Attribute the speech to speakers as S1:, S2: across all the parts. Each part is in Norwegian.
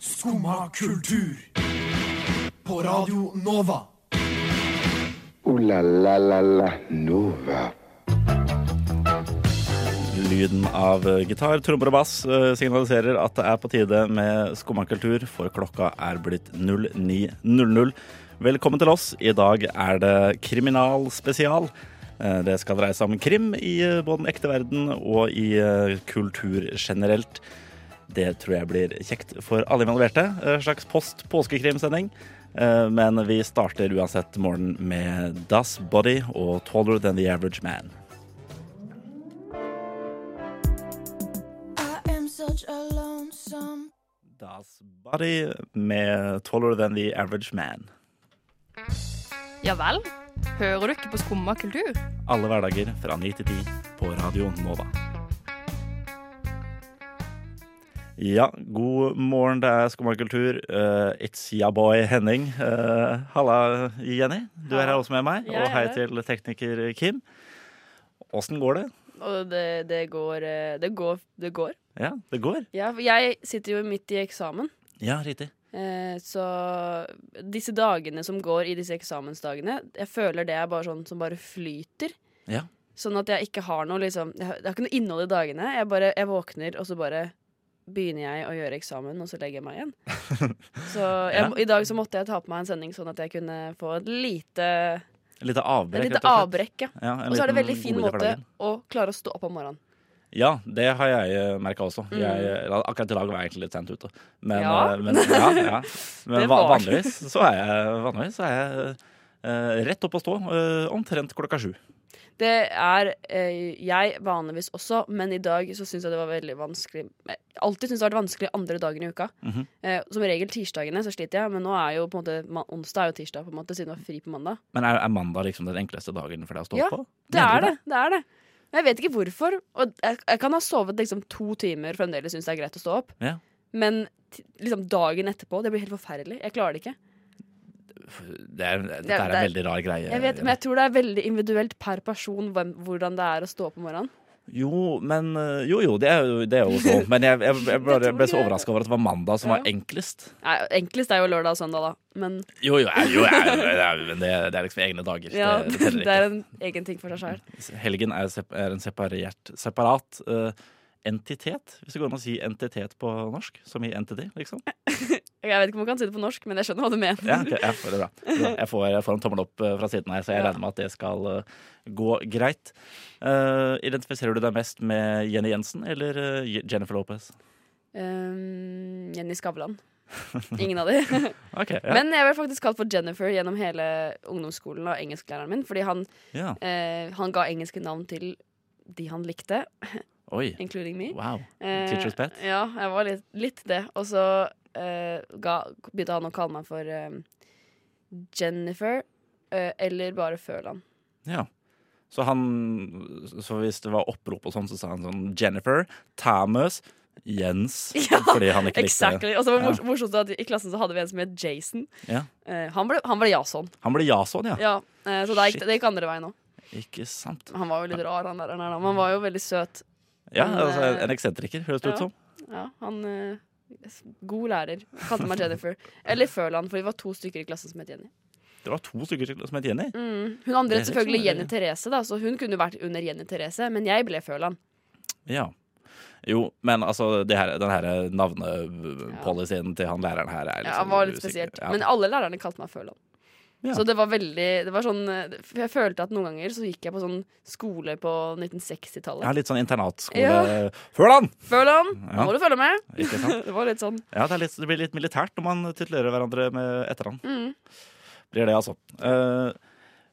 S1: Skumma kultur. På Radio Nova.
S2: Ooh la la la la Nova.
S3: Lyden av eh, gitar, trommer og bass eh, signaliserer at det er på tide med skummakultur, for klokka er blitt 09.00. Velkommen til oss. I dag er det kriminalspesial. Eh, Det skal dreie seg om krim i eh, både den ekte verden og i eh, kultur generelt. Det tror jeg blir kjekt for alle involverte. En slags post påskekrimsending. Eh, Men vi starter uansett morgenen med Das Body og Taller Than The Average Man.
S4: I am such a lonesome.
S3: Das Body med Taller Than The Average Man.
S5: Ja vel? Hører du ikke på Skumma kultur?
S3: Alle hverdager fra 9 til 10 på Radio Nova. Ja, god morgen, det er Skummakultur. Uh, it's ya boy Henning. Eh, halla, Jenny. Du er her også med meg.
S5: Jeg
S3: Og
S5: er
S3: hei
S5: her.
S3: til tekniker Kim. Åssen går det?
S5: Og det, det går eh, Det går. Det går.
S3: Ja, det går.
S5: Ja, for jeg sitter jo midt i eksamen,
S3: Ja, riktig.
S5: eh, så disse dagene som går i disse eksamensdagene, jeg føler det er bare sånn som bare flyter.
S3: Ja.
S5: Sånn at jeg ikke har noe liksom Jeg har, jeg har ikke noe innhold i dagene. Jeg bare jeg våkner, og så bare begynner jeg å gjøre eksamen, og så legger jeg meg igjen. Så jeg,
S3: Ja.
S5: i dag så måtte jeg ta på meg en sending sånn at jeg kunne få et lite,
S3: Et lite
S5: et
S3: avbrekk.
S5: lite
S3: rett og slett.
S5: avbrekk. Ja.
S3: Ja, en
S5: Og så er det
S3: liten
S5: veldig fin
S3: godbit i
S5: måte
S3: hverdagen.
S5: å klare å stå opp om morgenen.
S3: Ja, det har jeg merka også.
S5: Mm.
S3: Jeg, eller akkurat i dag var jeg egentlig litt sent ute. Men,
S5: Ja.
S3: eh, men, ja, ja. men
S5: Det
S3: va-
S5: var du.
S3: vanligvis så er jeg, vanligvis så er jeg eh, rett opp og stå eh, omtrent klokka sju.
S5: Det er eh, jeg vanligvis også, men i dag så syns jeg det var veldig vanskelig. Jeg har Alltid syns det har vært vanskelig andre dagen i uka.
S3: Mhm.
S5: eh, som regel tirsdagene så sliter jeg, men nå er jo på en måte ma- onsdag er jo tirsdag, på en måte, siden det var fri på mandag.
S3: Men er, er mandag liksom den enkleste dagen for deg å stå
S5: Ja,
S3: opp på?
S5: Det
S3: Mener
S5: er
S3: du
S5: det. det er det. Men jeg vet ikke hvorfor. Og jeg, jeg kan ha sovet liksom to timer fremdeles syns det er greit å stå opp,
S3: Ja.
S5: men t liksom dagen etterpå, det blir helt forferdelig. Jeg klarer det ikke.
S3: Det er, dette
S5: Det er-
S3: er en veldig rar greie.
S5: Jeg vet, men jeg tror det er veldig individuelt per person hvem, hvordan det er å stå opp om morgenen.
S3: Jo, men eh, Jo, jo, det er jo, det er jo så. Men jeg, jeg, jeg, bare,
S5: tror
S3: ble så
S5: jeg-
S3: overraska over at det var mandag som var
S5: Ja.
S3: enklest.
S5: Nei, enklest er jo lørdag og søndag, da. Men
S3: Jo, jo, jeg, jo jeg, jeg, jeg, men det, det er liksom egne dager.
S5: ja,
S3: det,
S5: det,
S3: teller ikke.
S5: er en egen ting for seg sjøl.
S3: Helgen er, sep er en separert, separat eh, entitet, hvis det går an å si entitet på norsk. Som i entity, liksom.
S5: Jeg vet ikke om man kan si det på norsk, men jeg skjønner hva du mener.
S3: Ja, ok, ja, det er bra. Bra. Jeg får, jeg får en tommel opp eh, fra siden her, så jeg
S5: Ja.
S3: regner med at det skal eh, gå greit. Eh, identifiserer du deg mest med Jenny Jensen eller eh, Je- Jennifer Lopez?
S5: Ehm, Jenny Skavlan. Ingen av de.
S3: Ok, ja.
S5: Men jeg ble faktisk kalt for Jennifer gjennom hele ungdomsskolen og engelsklæreren min, fordi han,
S3: ja.
S5: eh, han ga engelske navn til de han likte,
S3: Oi.
S5: including me.
S3: Wow.
S5: Eh,
S3: Teacher's pet?
S5: Ja, jeg var litt, litt det. Og så eh, ga, begynte han å kalle meg for eh, Jennifer, eh, eller bare Føland.
S3: Ja. Så han Så hvis det var opprop og sånn, så sa han sånn Jennifer, Thomas, Jens.
S5: Ja,
S3: fordi han ikke likte
S5: Exactly. Og så var det
S3: Ja.
S5: mors- morsomt at i klassen så hadde vi en som het Jason.
S3: Ja.
S5: Eh, han ble, han ble Jason.
S3: Han ble Jason, ja.
S5: Ja, eh, så det gikk,
S3: Shit.
S5: det gikk andre veien òg.
S3: Ikke sant.
S5: Han var jo litt rar, han der. Han, er da, men han var jo veldig søt.
S3: Ja,
S5: Men,
S3: altså,
S5: eh,
S3: en eksentriker, høres det
S5: ja.
S3: ut som.
S5: Ja, han eh, God lærer. Kalte meg Jennifer. Eller Føland, for vi var to stykker i klassen som het Jenny.
S3: Det var to stykker til som het Jenny.
S5: Mm.
S3: Det
S5: Hun andre het
S3: er liksom
S5: selvfølgelig
S3: veldig-
S5: Jenny Therese, da, så hun kunne vært under Jenny Therese, men jeg ble Føland.
S3: Ja. Jo, men altså, det her, den her navnepolicyen til han læreren her er liksom
S5: Ja, det var litt
S3: usikker.
S5: spesielt.
S3: Ja.
S5: Men alle lærerne kalte meg Føland.
S3: Ja.
S5: Så det var veldig det var sånn, eh, Jeg følte at noen ganger så gikk jeg på sånn skole på
S3: ja,
S5: 1960-tallet.
S3: litt sånn internatskole
S5: Ja.
S3: Føland!
S5: Føland!
S3: Ja.
S5: Nå må du følge med!
S3: Ikke sant?
S5: Det var litt sånn.
S3: Ja, det, er litt, det blir litt militært når man titulerer hverandre med etternavn.
S5: Mm.
S3: Blir det, altså. Eh,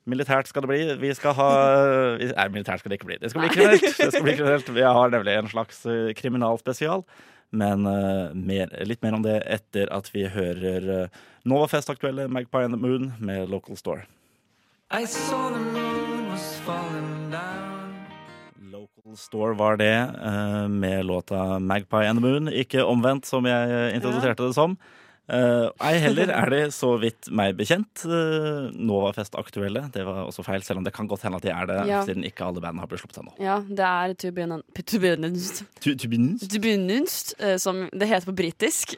S3: militært skal det bli. Vi skal ha Nei, militært skal det ikke bli. Det skal bli kriminelt. Det skal bli kriminelt. Vi har nemlig en slags eh, kriminalspesial. Men eh, mer, litt mer om det etter at vi hører uh, Novafest-aktuelle Magpie and the Moon med Local Store.
S6: I saw the moon was falling down.
S3: Local Store var det, eh, med låta Magpie and the Moon. Ikke omvendt, som jeg eh, introduserte det som. Eh, ei heller er de så vidt meg bekjent eh, Novafest-aktuelle. Det var også feil, selv om det kan godt hende at de er det,
S5: Ja.
S3: siden ikke alle bandene har blitt sluppet ennå.
S5: Ja, det er to be announced- to be announced.
S3: Tu- tu- bins?
S5: To be announced, eh, som det heter på britisk.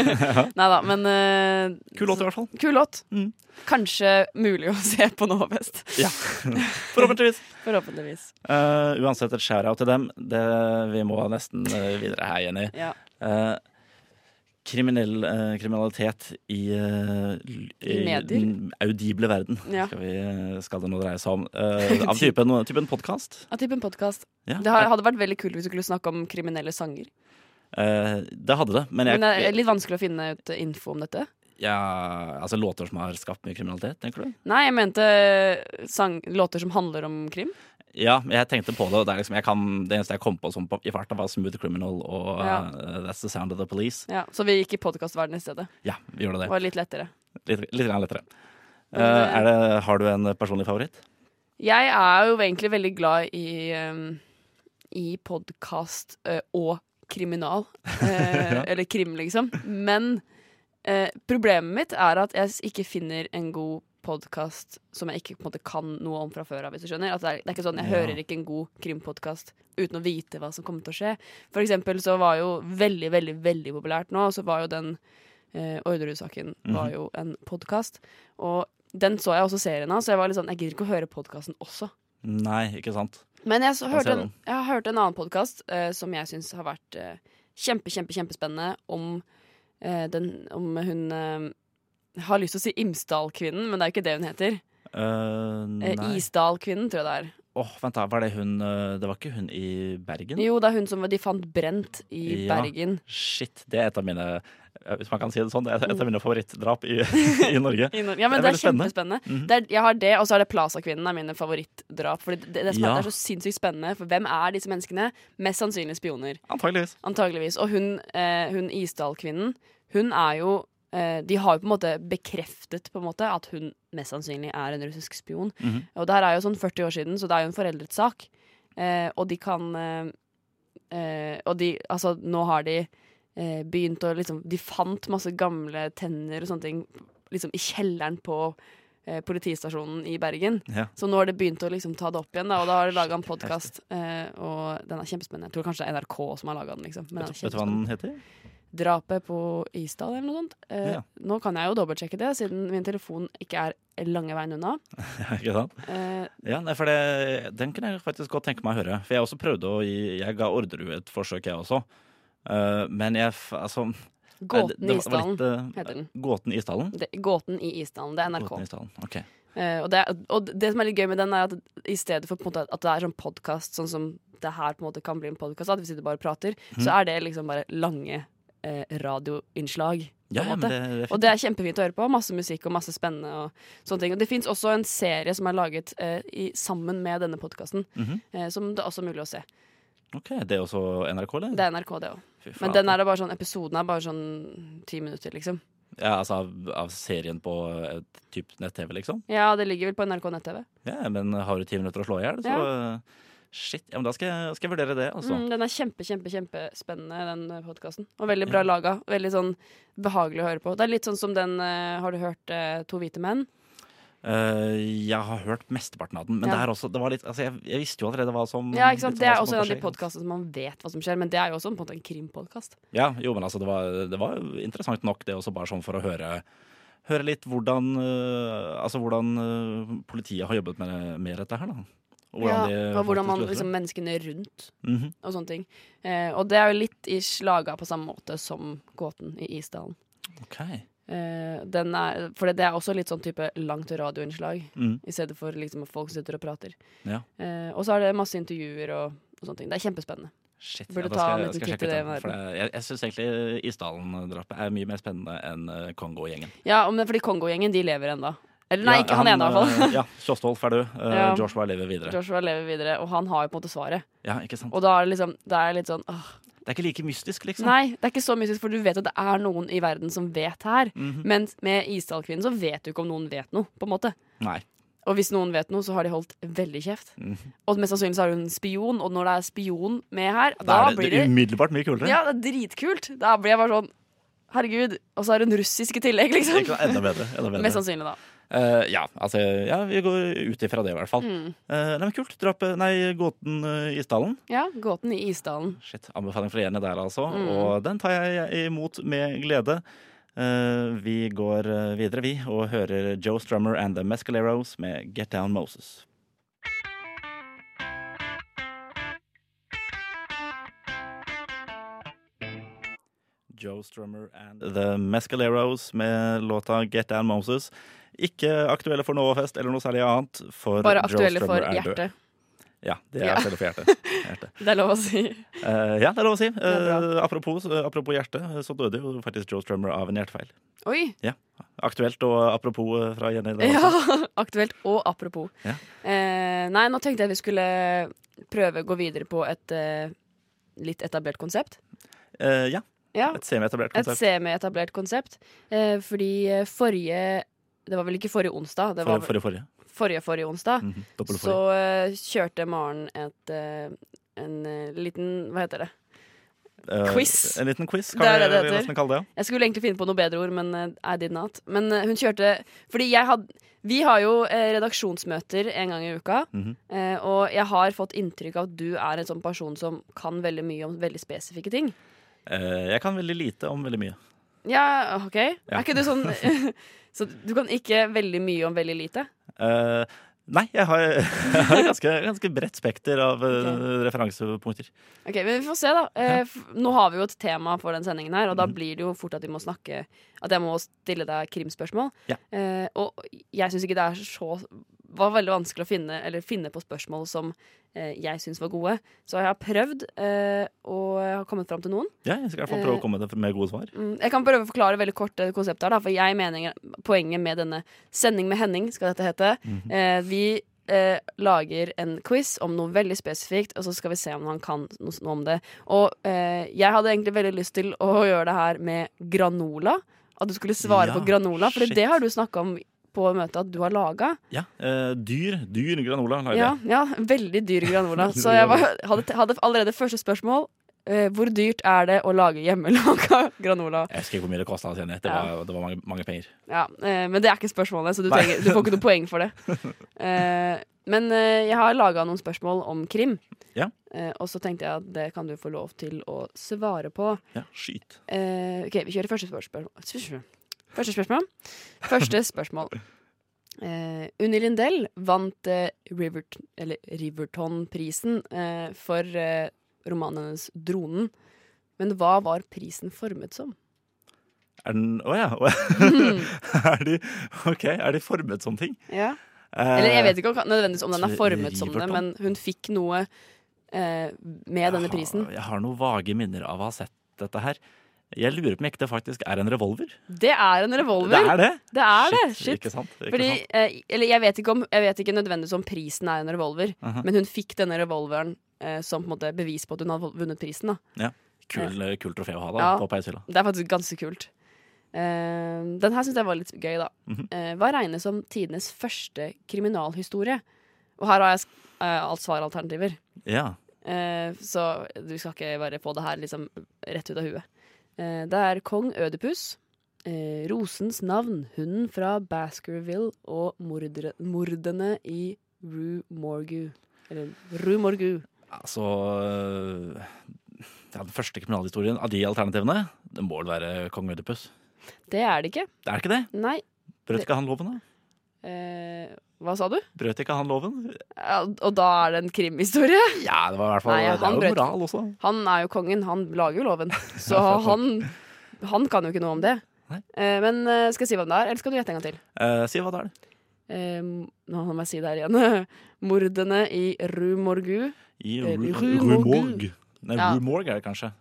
S5: Nei da, men eh,
S3: Kul låt, i hvert fall.
S5: Kul låt.
S3: Mm.
S5: Kanskje mulig å se på Novafest.
S3: Ja. Forhåpentligvis.
S5: Forhåpentligvis.
S3: Eh, uansett, et shout-out til dem. Det, vi må nesten eh, videre her, Jenny.
S5: Ja.
S3: Eh, kriminell eh, kriminalitet i, eh, l-
S5: I medier?
S3: den audible verden
S5: Ja.
S3: skal, vi, skal det nå dreie seg om. Eh, av typen, typen podkast.
S5: Av typen podkast.
S3: Ja.
S5: Det har- hadde vært veldig kult hvis du kunne snakke om kriminelle sanger.
S3: Eh, det hadde det, men jeg
S5: Men det er litt vanskelig å finne ut eh, info om dette.
S3: Ja, altså låter som har skapt mye kriminalitet, tenker du?
S5: Nei, jeg mente eh, sang, låter som handler om krim.
S3: Ja, jeg tenkte på det, og det, er liksom, jeg kan, det eneste jeg kom på, som på i farta, var Smooth Criminal og
S5: Ja.
S3: eh, That's the Sound of the Police.
S5: Ja, så vi gikk i podkastverdenen i stedet.
S3: Ja, vi gjorde
S5: Det
S3: det.
S5: var litt lettere.
S3: Litt, litt grann lettere. Eh,
S5: Men, eh,
S3: er det, har du en personlig favoritt?
S5: Jeg er jo egentlig veldig glad i, um, i podkast eh, og kriminal. Eh, Eller krim, liksom. Men eh, problemet mitt er at jeg s- ikke finner en god podkast som jeg ikke på en måte kan noe om fra før av. hvis du skjønner. At det, er, det er ikke sånn, Jeg
S3: Ja.
S5: hører ikke en god krimpodkast uten å vite hva som kommer til å skje. For eksempel så var jo veldig, veldig, veldig populært nå, så var jo den eh, Orderud-saken var jo en podkast. Og den så jeg også serien av, så jeg var litt sånn, jeg gidder ikke å høre podkasten også.
S3: Nei, ikke sant?
S5: Men jeg, så, hørte
S3: ser
S5: en,
S3: den.
S5: jeg har hørt en annen podkast som jeg syns har vært eh, kjempe, kjempe, kjempespennende om eh, den Om hun eh, jeg har lyst til å si Imsdal-kvinnen, men det er jo ikke det hun heter.
S3: Eh,
S5: Eh,
S3: nei.
S5: Isdal-kvinnen, tror jeg det er.
S3: Åh, vent da, var det hun eh, Det var ikke hun i Bergen?
S5: Jo, det er hun som de fant brent i
S3: Ja.
S5: Bergen.
S3: Shit, det er et av mine eh, Hvis man kan si det sånn, det er et av mine favorittdrap i, i Norge.
S5: I Nor- Ja, men
S3: Det er
S5: det er,
S3: veldig spennende. Mhm.
S5: kjempespennende. det er, jeg har det, Og så er det Plaza-kvinnen er mine favorittdrap. Fordi det, det, det, som er,
S3: Ja.
S5: det er så sinnssykt spennende, for hvem er disse menneskene? Mest sannsynlig spioner.
S3: Antageligvis.
S5: Antageligvis. Og hun, eh, hun Isdal-kvinnen, hun er jo eh, De har jo på en måte bekreftet på en måte at hun mest sannsynlig er en russisk spion.
S3: Mhm.
S5: Og det her er jo sånn 40 år siden, så det er jo en foreldret sak. Eh, og de kan eh, eh, Og de Altså, nå har de eh, begynt å liksom De fant masse gamle tenner og sånne ting liksom i kjelleren på eh, politistasjonen i Bergen.
S3: Ja.
S5: Så nå har de begynt å liksom ta det opp igjen, da, og da har de laga en podkast. Eh, og den er kjempespennende. Jeg tror kanskje det er NRK som har laga den. liksom. Men den er
S3: Vet, vet du hva den
S5: kjempespennende.
S3: heter?
S5: Drapet på Isdal eller noe sånt. Eh,
S3: Ja.
S5: Nå kan jeg jo dobbeltsjekke det, siden min telefon ikke er lange veien unna.
S3: Ja, ikke sant?
S5: Eh,
S3: Ja, nei, for det, Den kunne jeg faktisk godt tenke meg å høre. For jeg også prøvde å gi Jeg ga Orderud et forsøk, jeg også. Eh, men jeg f- Altså
S5: Gåten
S3: nei, det-
S5: i
S3: det var
S5: Isdalen.
S3: litt, eh,
S5: heter den.
S3: Gåten i Isdalen?
S5: Det, gåten i Isdalen. Det er NRK.
S3: Gåten i Isdalen. Ok.
S5: Eh, og, det, og det som er litt gøy med den, er at i stedet for på en måte at det er sånn podkast, sånn som det her på en måte kan bli en podkast, at vi sitter bare og prater,
S3: Mm.
S5: så er det liksom bare lange eh, radioinnslag. på
S3: Ja,
S5: en
S3: ja, men det,
S5: måte.
S3: det er
S5: Og
S3: fint.
S5: det er kjempefint å høre på. Masse musikk og masse spennende. Og sånne ting Og det fins også en serie som er laget eh, i, sammen med denne podkasten,
S3: Mhm.
S5: eh, som det er også mulig å se.
S3: Ok, Det er også NRK, eller?
S5: Det er NRK, det òg.
S3: Fy
S5: Men
S3: faen.
S5: den er det bare sånn, episoden er bare sånn ti minutter, liksom.
S3: Ja, altså av, av serien på eh, typ nett-TV, liksom?
S5: Ja, det ligger vel på NRK nett-TV.
S3: Ja, men har du ti minutter å slå i hjel, så eh, Shit. Ja, men da skal jeg, skal jeg vurdere det, altså.
S5: Mm, den er kjempe, kjempe, kjempespennende, den podkasten. Og veldig bra laga. Veldig sånn behagelig å høre på. Det er litt sånn som den eh, Har du hørt eh, To hvite menn?
S3: Eh, jeg har hørt mesteparten av den, men
S5: Ja.
S3: det er også, det var litt, altså, jeg, jeg visste jo allerede hva som
S5: Ja, ikke sant?
S3: Mm, litt
S5: Det er
S3: hva som kom til
S5: også en av de
S3: å skje, ikke sant?
S5: podkastene som man vet hva som skjer, men det er jo også på en måte en krimpodkast.
S3: Ja, jo, men altså, det var, det var jo interessant nok, det også, bare sånn for å høre, høre litt hvordan, eh, altså, hvordan eh, politiet har jobbet med, med dette her, da. Og hvordan
S5: ja,
S3: de
S5: og hvordan
S3: faktisk
S5: man
S3: løser det.
S5: liksom menneskene rundt
S3: Mhm.
S5: og sånne ting. Eh, og det er jo litt i slaga på samme måte som gåten i Isdalen.
S3: Ok.
S5: Eh, den er, for det, det er også litt sånn type langt radioinnslag,
S3: Mm.
S5: i stedet for liksom folk som sitter og prater.
S3: Ja.
S5: Eh, og så er det masse intervjuer og, og sånne ting. Det er kjempespennende.
S3: Shit,
S5: Burde
S3: ja, da
S5: ta
S3: skal
S5: en
S3: jeg-
S5: liten
S3: skal jeg
S5: titt
S3: sjekke
S5: i
S3: ut
S5: det,
S3: den, for det- Jeg, jeg syns egentlig Isdalen-drapet er mye mer spennende enn eh, Kongo-gjengen.
S5: Ja, men fordi Kongo-gjengen, de lever ennå. Eller nei,
S3: Ja,
S5: ikke han, ene, i hvert fall.
S3: eh, Ja, Kjostolf er død. eh,
S5: Ja.
S3: Joshua lever videre.
S5: Joshua lever videre, og han har jo på en måte svaret.
S3: Ja, ikke sant?
S5: Og da er det liksom Det er litt sånn åh.
S3: Det er ikke like mystisk, liksom.
S5: Nei, det er ikke så mystisk, for du vet at det er noen i verden som vet her.
S3: Mhm.
S5: Mens med Isdal-kvinnen så vet du ikke om noen vet noe, på en måte.
S3: Nei.
S5: Og hvis noen vet noe, så har de holdt veldig kjeft.
S3: Mhm.
S5: Og mest sannsynlig så har hun en spion, og når det er spion med her, da,
S3: Da er det,
S5: blir
S3: det er
S5: det
S3: umiddelbart mye kulere.
S5: Ja, det er dritkult. Da blir jeg bare sånn Herregud. Og så er hun russisk i tillegg, liksom.
S3: Ikke sant? Enda bedre. Enda bedre.
S5: Mest sannsynlig, da.
S3: Eh, ja, altså, ja, vi går ut ifra det, i hvert fall.
S5: Mm.
S3: Eh, nei, men kult. Drapet Nei, gåten eh, Isdalen.
S5: Ja, Gåten i Isdalen.
S3: Shit, Anbefaling fra Jenny der, altså.
S5: Mm.
S3: Og den tar jeg imot med glede. Eh, vi går eh, videre, vi, og hører Joe Strummer and The Mescaleros med Get Down Moses. Joe Strummer and The Mescaleros med låta Get Down Moses. Ikke aktuelle for Novafest eller noe særlig annet. For
S5: Bare
S3: Joe
S5: aktuelle for
S3: Strummer er død.
S5: hjertet.
S3: Ja, det er
S5: Ja.
S3: aktuelle for hjertet. hjertet.
S5: Det er lov å si.
S3: Eh, ja, det er lov å si.
S5: er
S3: Eh, apropos, eh, apropos hjerte, eh, så døde jo faktisk Joe Strummer av en hjertefeil.
S5: Oi!
S3: Ja, Aktuelt og apropos eh, fra Jenny. der
S5: Ja,
S3: også.
S5: aktuelt og apropos.
S3: Ja.
S5: Eh, nei, nå tenkte jeg vi skulle prøve å gå videre på et eh, litt etablert konsept.
S3: Eh, ja,
S5: Ja,
S3: et semietablert
S5: et
S3: konsept.
S5: semi-etablert konsept. Eh, fordi eh, forrige Det var vel ikke forrige onsdag, det
S3: For,
S5: var
S3: forrige, forrige.
S5: forrige forrige onsdag.
S3: Mhm, dobbelt
S5: Så
S3: forrige.
S5: eh, kjørte Maren et eh, en eh, liten Hva heter det?
S3: Eh,
S5: quiz.
S3: En liten quiz, kan
S5: Det er det
S3: jeg
S5: det heter.
S3: nesten kalle det.
S5: Jeg skulle egentlig finne på noe bedre ord, men eh, I did not. Men eh, hun kjørte Fordi jeg hadde Vi har jo eh, redaksjonsmøter en gang i uka.
S3: Mhm.
S5: eh, og jeg har fått inntrykk av at du er en sånn person som kan veldig mye om veldig spesifikke ting.
S3: ja. Eh, jeg kan veldig lite om veldig mye.
S5: Ja, OK?
S3: Ja.
S5: Er ikke du sånn Så du kan ikke veldig mye om veldig lite?
S3: Eh, nei, jeg har, jeg har et ganske, ganske bredt spekter av eh, referansepunkter.
S5: Ok, men Vi får se, da. Eh, f- nå har vi jo et tema for den sendingen her, og da blir det jo fort at vi må snakke At jeg må stille deg krimspørsmål.
S3: Ja.
S5: Eh, og jeg syns ikke det er så var veldig vanskelig å finne Eller finne på spørsmål som eh, jeg syns var gode. Så jeg har prøvd, eh, og jeg har kommet fram til noen.
S3: Ja, jeg skal i hvert fall
S5: Eh.
S3: prøve å komme med- med gode svar.
S5: Mm, Jeg kan prøve å forklare veldig kort eh, konseptet her, da, for jeg mener poenget med denne Sending med Henning, skal dette hete.
S3: Mhm.
S5: eh, vi eh, lager en quiz om noe veldig spesifikt, og så skal vi se om han kan noe, noe om det. Og eh, jeg hadde egentlig veldig lyst til å gjøre det her med granola. At du skulle
S3: Ja,
S5: svare på granola, for
S3: shit.
S5: det har du snakka om på møtet at du har laga.
S3: Ja, eh, Dyr dyr granola lager
S5: Ja,
S3: jeg.
S5: ja, veldig dyr granola. Så jeg var, hadde, hadde allerede første spørsmål. eh, hvor dyrt er det å lage hjemmelaga granola?
S3: Jeg husker ikke hvor mye det kosta. Det,
S5: Ja.
S3: var- det var mange, mange penger.
S5: Ja, eh, Men det er ikke spørsmålet, så du,
S3: Nei.
S5: trenger, du får ikke noe poeng for det. Eh, men eh, jeg har laga noen spørsmål om krim,
S3: Ja.
S5: Eh, og så tenkte jeg at det kan du få lov til å svare på.
S3: Ja, skyt.
S5: Eh, ok, Vi kjører første spørsmål. Første spørsmål. Første spørsmål. Eh, Unni Lindell vant eh, Rivert, eller Riverton-prisen eh, for eh, romanen hennes 'Dronen'. Men hva var prisen formet som?
S3: Er den Å ja. å ja. er, de, ok, er de formet som ting?
S5: Ja.
S3: Eh,
S5: Eller jeg vet ikke om, nødvendigvis om den er
S3: Tror
S5: formet som det,
S3: Riverton.
S5: men hun fikk noe eh, med denne prisen.
S3: Jeg har, jeg har noen vage minner av å ha sett dette her. Jeg lurer på om ikke det faktisk er en revolver.
S5: Det er en revolver!
S3: Det er det!
S5: Det er det,
S3: Shit,
S5: shit.
S3: Ikke sant? Ikke
S5: Fordi,
S3: sant?
S5: eh, eller jeg vet, ikke om, jeg vet ikke nødvendigvis om prisen er en revolver,
S3: Aha.
S5: men hun fikk denne revolveren eh, som på en måte bevis på at hun har vunnet prisen. Da.
S3: Kul, kul trofé å ha da,
S5: Ja.
S3: på peishylla.
S5: Det er faktisk ganske kult. Eh, den her syns jeg var litt gøy, da.
S3: Mhm.
S5: eh, hva regnes som tidenes første kriminalhistorie? Og her har jeg sk- eh, alt svaralternativer.
S3: Ja.
S5: Eh, så du skal ikke bare få det her liksom rett ut av huet. Eh, det er kong Ødipus, eh, rosens navn, hunden fra Baskerville og mordere, mordene i Rue Morgue. Eller Rue Morgue.
S3: Altså øh, ja, Den første kriminalhistorien av de alternativene, det må vel være kong Ødipus.
S5: Det er det ikke.
S3: Det er ikke det?
S5: Nei.
S3: Brøt ikke han loven, da?
S5: Eh, hva sa du?
S3: Brøt ikke han loven?
S5: Ja, og da er det en krimhistorie?
S3: Ja, det var i hvert fall
S5: Nei,
S3: Det er
S5: han
S3: jo
S5: brøt-
S3: moral også.
S5: Han er jo kongen, han lager jo loven. Så
S3: Ja, for
S5: han, han kan jo ikke noe om det.
S3: Nei.
S5: Eh, men eh, skal jeg si hvem det er, eller skal du gjette en gang til?
S3: Eh, si hva det er. det.
S5: Eh, nå må jeg si det her igjen. Mordene i Rue Morgue.
S3: I
S5: Eh,
S3: Ru-
S5: Rue
S3: Rue
S5: Morgue.
S3: Morgue. Nei,
S5: Ja.
S3: Rue Morgue er det kanskje.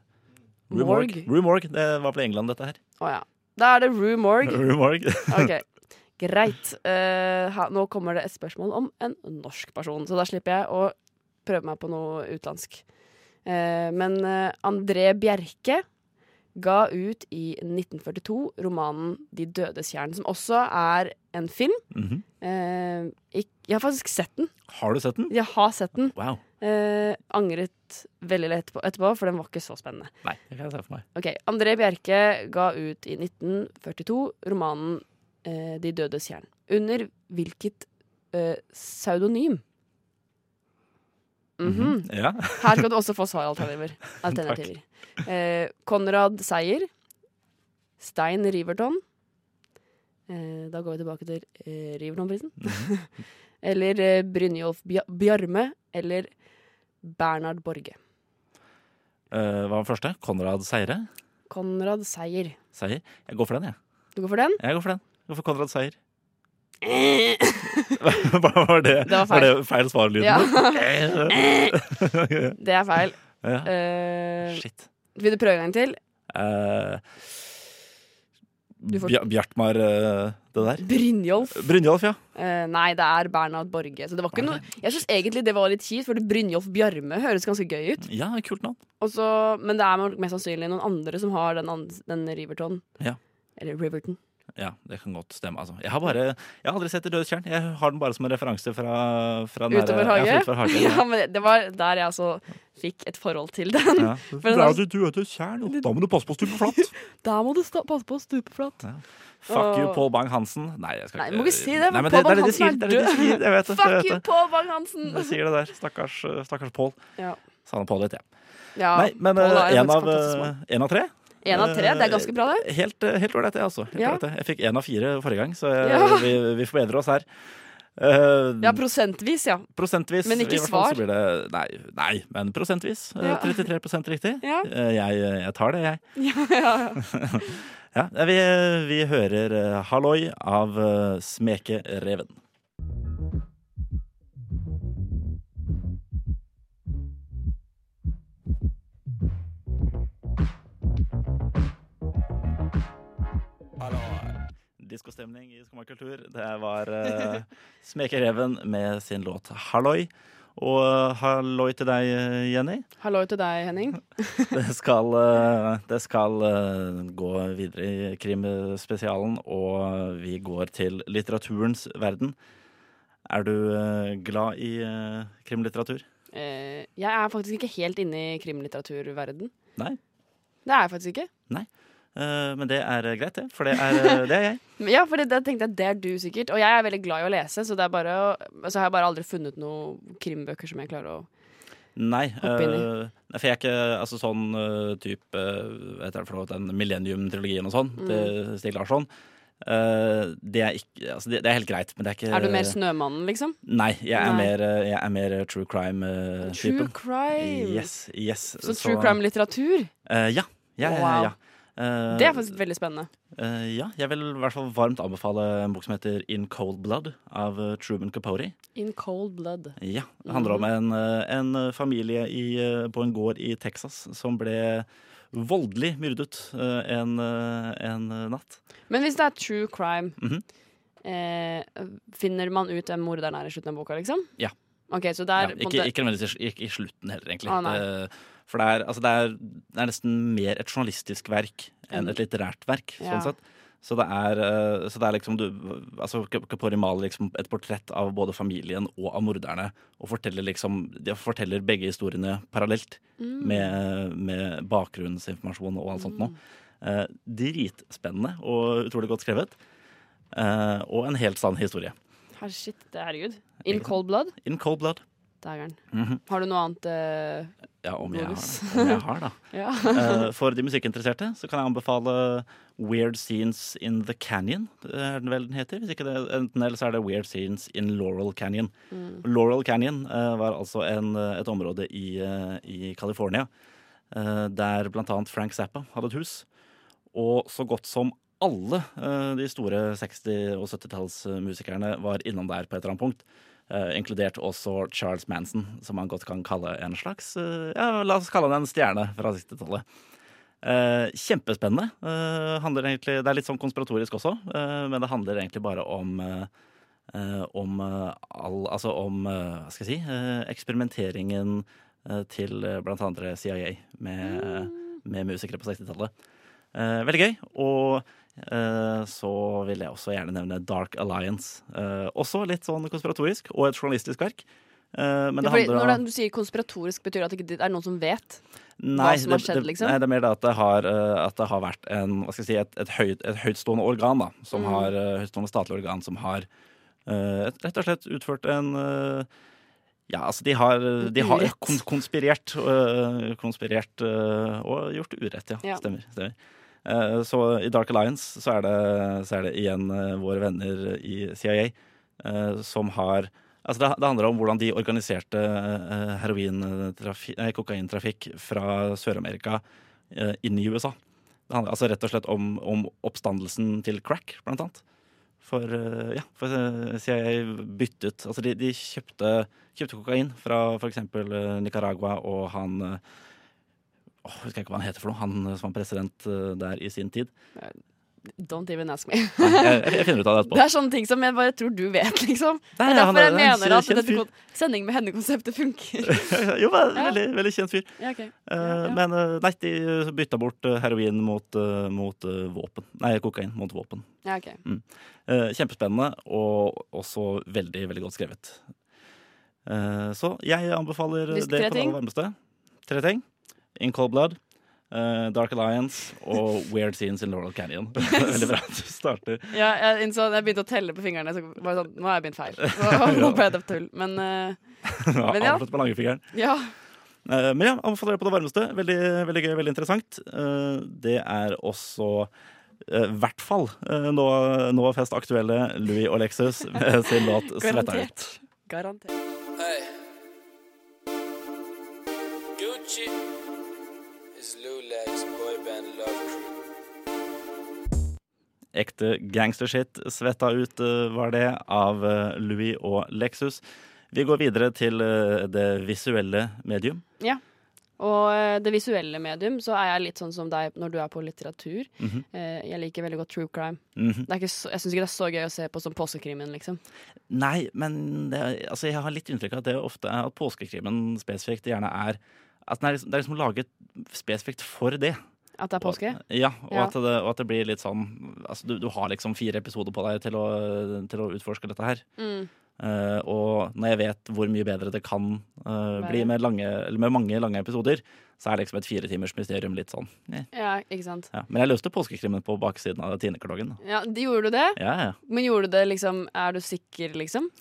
S3: Rue
S5: Morgue?
S3: Morgue. Rue Morgue. Det var vel England, dette her.
S5: Å ja. Da er det Rue Morgue.
S3: Rue Morgue.
S5: Ok, Greit. Eh, her- nå kommer det et spørsmål om en norsk person, så da slipper jeg å prøve meg på noe utenlandsk. Eh, men eh, André Bjerke ga ut i 1942 romanen 'De dødes jern', som også er en film.
S3: Mhm.
S5: Eh, ikk- jeg har faktisk sett den.
S3: Har du sett den?
S5: Jeg har sett den.
S3: Wow.
S5: Eh, angret veldig lett på, etterpå, for den var ikke så spennende.
S3: Nei, det kan jeg se for meg.
S5: Ok, André Bjerke ga ut i 1942 romanen eh, 'De dødes jern'. Under hvilket eh, pseudonym? Mhm.
S3: Ja.
S5: Her skal du også få svaralternativer. alternativer. Eh, Konrad Seier. Stein Riverton. Eh, da går vi tilbake til eh, Riverton-prisen.
S3: Mhm.
S5: eller eh, Brynjolf Bja Bjarme. Eller Bernhard Borge.
S3: Eh, hva var den første? Konrad Seire?
S5: Konrad Seier.
S3: Seier? Jeg går for den, jeg.
S5: Du går for den?
S3: Jeg går for den. Jeg går for Konrad Seier. Hva var det?
S5: var
S3: Var
S5: feil.
S3: det feil svarlyd?
S5: Ja,
S3: Ja.
S5: det er feil. Eh,
S3: Shit.
S5: vil du prøve en gang til?
S3: Eh,
S5: Du får-
S3: Bja- Bjartmar, eh, det der?
S5: Brynjolf.
S3: Brynjolf, ja.
S5: Eh, nei, det er Bernhard Borge. Så det var ikke noe Jeg syns egentlig det var litt kjipt, for Brynjolf Bjarme høres ganske gøy ut.
S3: Ja, kult navn.
S5: Og så, men det er nok mest sannsynlig noen andre som har den, and- den Riverton.
S3: Ja.
S5: Eller Riverton.
S3: Ja, det kan godt stemme. Altså. Jeg, har bare, jeg har aldri sett Det døde tjern. Jeg har den bare som en referanse fra, fra nære-
S5: Utover
S3: eh, Ja, fra
S5: hage.
S3: utover hage.
S5: Ja, men det- det var der jeg altså fikk et forhold til den.
S3: Ja.
S5: det er
S3: Det døde tjern, og da må du passe på å stupe flatt.
S5: Der må du stå, passe på å stupe flatt.
S3: Fuck you,
S5: Åh.
S3: Paul Bang-Hansen. Nei, jeg skal
S5: Nei,
S3: ikke
S5: må ikke si det,
S3: Nei,
S5: men
S3: men
S5: Paul
S3: det, det er det de
S5: Bang-Hansen
S3: sier. Det er det de sier. Jeg vet det. Jeg
S5: Fuck
S3: vet
S5: you,
S3: det.
S5: Pål
S3: Jeg
S5: Bang-Hansen!
S3: sier det der. Stakkars, eh, stakkars Paul.
S5: Ja.
S3: Savner Paul litt, jeg.
S5: Ja,
S3: Nei, men
S5: Paul er jo
S3: én
S5: faktisk
S3: av,
S5: fantastisk mann.
S3: eh, en av tre?
S5: En av tre, det er ganske bra, det.
S3: Helt eh, helt ålreit, det, altså. Helt
S5: Ja.
S3: ålreit, det. Jeg fikk én av fire forrige gang, så jeg,
S5: Ja.
S3: vi, vi forbedrer oss her. Eh,
S5: Ja, prosentvis, ja.
S3: prosentvis.
S5: Men ikke
S3: i hvert fall
S5: svar.
S3: Så blir det, nei, nei, men prosentvis. Eh,
S5: Ja.
S3: 33 riktig.
S5: Ja.
S3: Eh, Jeg, jeg tar det, jeg.
S5: ja, ja, ja.
S3: Ja, vi, vi hører eh, 'Halloi' av eh, Smekereven. Diskostemning i Skomakultur. Det var eh, Smekereven med sin låt 'Halloi'. Og eh, halloi til deg, eh, Jenny.
S5: Hallo til deg, Henning.
S3: Det skal, eh, det skal eh, gå videre i krimspesialen, og vi går til litteraturens verden. Er du eh, glad i eh, krimlitteratur?
S5: Eh, jeg er faktisk ikke helt inne i krimlitteraturverden.
S3: Nei.
S5: Det er jeg faktisk ikke.
S3: Eh, Men det er eh, greit, det. For det er, eh, det er jeg.
S5: Men Ja, for det, det tenkte jeg, det er du sikkert. Og jeg er veldig glad i å lese, så det er bare å, altså, jeg har bare aldri funnet noen krimbøker som jeg klarer å
S3: Nei.
S5: Hopp inn i.
S3: eh, nei, for jeg er ikke altså, sånn eh, type eh, Hva heter det for noe? Den Millennium-trilogien og sånn
S5: Mm.
S3: til Stig Larsson. Eh, det, er ikke, altså, det, det er helt greit, men det er ikke
S5: Er du mer Snømannen, liksom?
S3: Nei, jeg er,
S5: Nei.
S3: Mer, eh, jeg er mer eh, true crime-typen.
S5: True crime.
S3: Yes, yes.
S5: Så true crime-litteratur,
S3: Eh, ja. Ja, ja, ja,
S5: Wow.
S3: ja. Eh,
S5: det er faktisk veldig spennende.
S3: eh, ja, jeg vil i hvert fall varmt anbefale en bok som heter In Cold Blood av eh, Truman Capote.
S5: In cold blood.
S3: Ja, Det handler om en, eh, en familie i, eh, på en gård i Texas som ble voldelig myrdet eh, en, eh, en natt.
S5: Men hvis det er true crime,
S3: Mhm.
S5: eh, finner man ut hvem morderen er i slutten av boka, liksom?
S3: Ja.
S5: Ok, så
S3: Ja,
S5: der
S3: ikke, ikke nødvendigvis i, ikke i slutten heller, egentlig.
S5: Ah, nei.
S3: Eh, for det er, altså det, er, det er nesten mer et journalistisk verk enn et litterært verk.
S5: Mm. Ja.
S3: sånn sett. Så det er, eh, så det er liksom du, altså Ka- Kapori maler liksom et portrett av både familien og av morderne. Og forteller liksom, de forteller begge historiene parallelt
S5: Mm.
S3: med, med bakgrunnsinformasjon og alt sånt noe. Eh, dritspennende og utrolig godt skrevet. Eh, og en helt sann historie.
S5: Her, shit, det, herregud. In cold blood?
S3: In cold blood.
S5: Dægeren.
S3: Mhm.
S5: Har du noe annet eh,
S3: Ja, om jeg har det.
S5: Glorious.
S3: Om jeg har, da.
S5: Ja.
S3: Eh, for de musikkinteresserte så kan jeg anbefale Weird Scenes in the Canyon. Det er den vel den heter. Hvis ikke det, enten eller så er det Weird Scenes in Laurel Canyon. Laurel Canyon eh, var altså en, eh, et område i, eh, i California eh, der bl.a. Frank Zappa hadde et hus. Og så godt som alle eh, de store 60- og 70-tallsmusikerne var innom der på et eller annet punkt. Eh, inkludert også Charles Manson, som man godt kan kalle en slags eh, Ja, la oss kalle han en stjerne fra 60-tallet. Eh, kjempespennende. Eh, handler egentlig, det er litt sånn konspiratorisk også, eh, men det handler egentlig bare om eh, eh, om eh, all, altså om eh, hva skal jeg si, eh, eksperimenteringen eh, til eh, blant andre CIA med, eh,
S5: Mm.
S3: med musikere på 60-tallet. Eh, veldig gøy. Og eh, så vil jeg også gjerne nevne Dark Alliance. Eh, også litt sånn konspiratorisk og et journalistisk verk. Eh, men det
S5: fordi
S3: handler om
S5: når det- du sier konspiratorisk, betyr det at det ikke er noen som vet?
S3: Nei,
S5: som har
S3: det-
S5: skjedd,
S3: det-
S5: liksom?
S3: Nei, det er mer det at det har, eh, at det har vært en, hva skal jeg si, et, et, høyt, et høytstående organ, da, som
S5: Mm.
S3: har, eh, høytstående statlig organ, som har eh, rett og slett utført en eh, ja, altså de har, de har
S5: urett.
S3: kon- konspirert, eh, konspirert eh, og gjort urett, ja.
S5: Ja.
S3: Stemmer. stemmer. Eh, Så i Dark Alliance så er det, så er det igjen eh, våre venner i CIA eh, som har Altså det, det handler om hvordan de organiserte eh, herointrafi- nei, kokaintrafikk fra Sør-Amerika eh, inn i USA. Det handler altså rett og slett om, om oppstandelsen til crack, blant annet. For, eh, ja, for eh, CIA byttet Altså de, de kjøpte, kjøpte kokain fra f.eks. Nicaragua og han eh, åh, Jeg husker ikke hva han heter for noe. Han eh, som var president eh, der i sin tid.
S5: Don't even ask me.
S3: Nei, jeg, jeg finner ut av det
S5: Det
S3: etterpå.
S5: er sånne ting som jeg bare tror du vet, liksom. Det
S3: Nei,
S5: er
S3: han er-
S5: derfor jeg
S3: han er
S5: mener at
S3: kjent
S5: dette
S3: fyr.
S5: kon- sending med henne-konseptet funker.
S3: jo, men,
S5: Ja.
S3: veldig, veldig kjent fyr.
S5: Ja, ok.
S3: Eh,
S5: Ja, ja.
S3: Men eh, nei, de eh, bytta bort eh, heroin mot, eh, mot eh, våpen. Nei, kokain mot våpen.
S5: Ja, ok.
S3: Eh, Kjempespennende og også veldig, veldig godt skrevet. Eh, Så jeg anbefaler
S5: Lyst-
S3: det
S5: tre
S3: på det
S5: ting?
S3: aller varmeste. Tre ting. In Cold Blood, eh, Dark Alliance og Weird Scenes in Laurel Canyon. veldig bra. Du starter
S5: Ja, jeg innså jeg begynte å telle på fingrene. Så var det sånn, nå har jeg begynt feil. Nå- Nå ble det tull. Men eh, Men ja.
S3: avslutt med langfingeren.
S5: ja.
S3: Eh, Men ja, anbefaler det på det varmeste. Veldig, veldig gøy, veldig interessant. Eh, Det er også i hvert fall eh, nå, nå fest aktuelle Louis og Lexus med sin låt 'Svetta ut'.
S5: Garantert. Garantert.
S7: Hey. Gucci is Lula's boy band love crew.
S3: Ekte gangstershit, svetta ut eh, var det, av eh, Louis og Lexus. Vi går videre til eh, det visuelle medium.
S5: Og eh, det visuelle medium, så er jeg litt sånn som deg når du er på litteratur.
S3: Mhm.
S5: Eh, jeg liker veldig godt true crime.
S3: Mhm.
S5: Det er ikke så, jeg syns ikke det er så gøy å se på som påskekrimen, liksom.
S3: Nei, men det, er- altså, jeg har litt inntrykk av at det ofte er at påskekrimen spesifikt gjerne er At den er liksom, det er liksom laget spesifikt for det.
S5: At det er påske.
S3: Og, ja, og,
S5: Ja.
S3: At det, og at det blir litt sånn altså, du, du har liksom fire episoder på deg til å, til å utforske dette her.
S5: Mm.
S3: Eh, og når jeg vet hvor mye bedre det kan eh,
S5: Være.
S3: bli med, lange, eller med mange lange episoder, så er liksom et firetimers mysterium litt sånn. eh.
S5: Ja, ikke sant.
S3: Ja. Men jeg løste påskekrimmen på baksiden av tinekartongen. da.
S5: Ja, de gjorde du det?
S3: Ja, ja.
S5: Men gjorde du det liksom Er du sikker, liksom?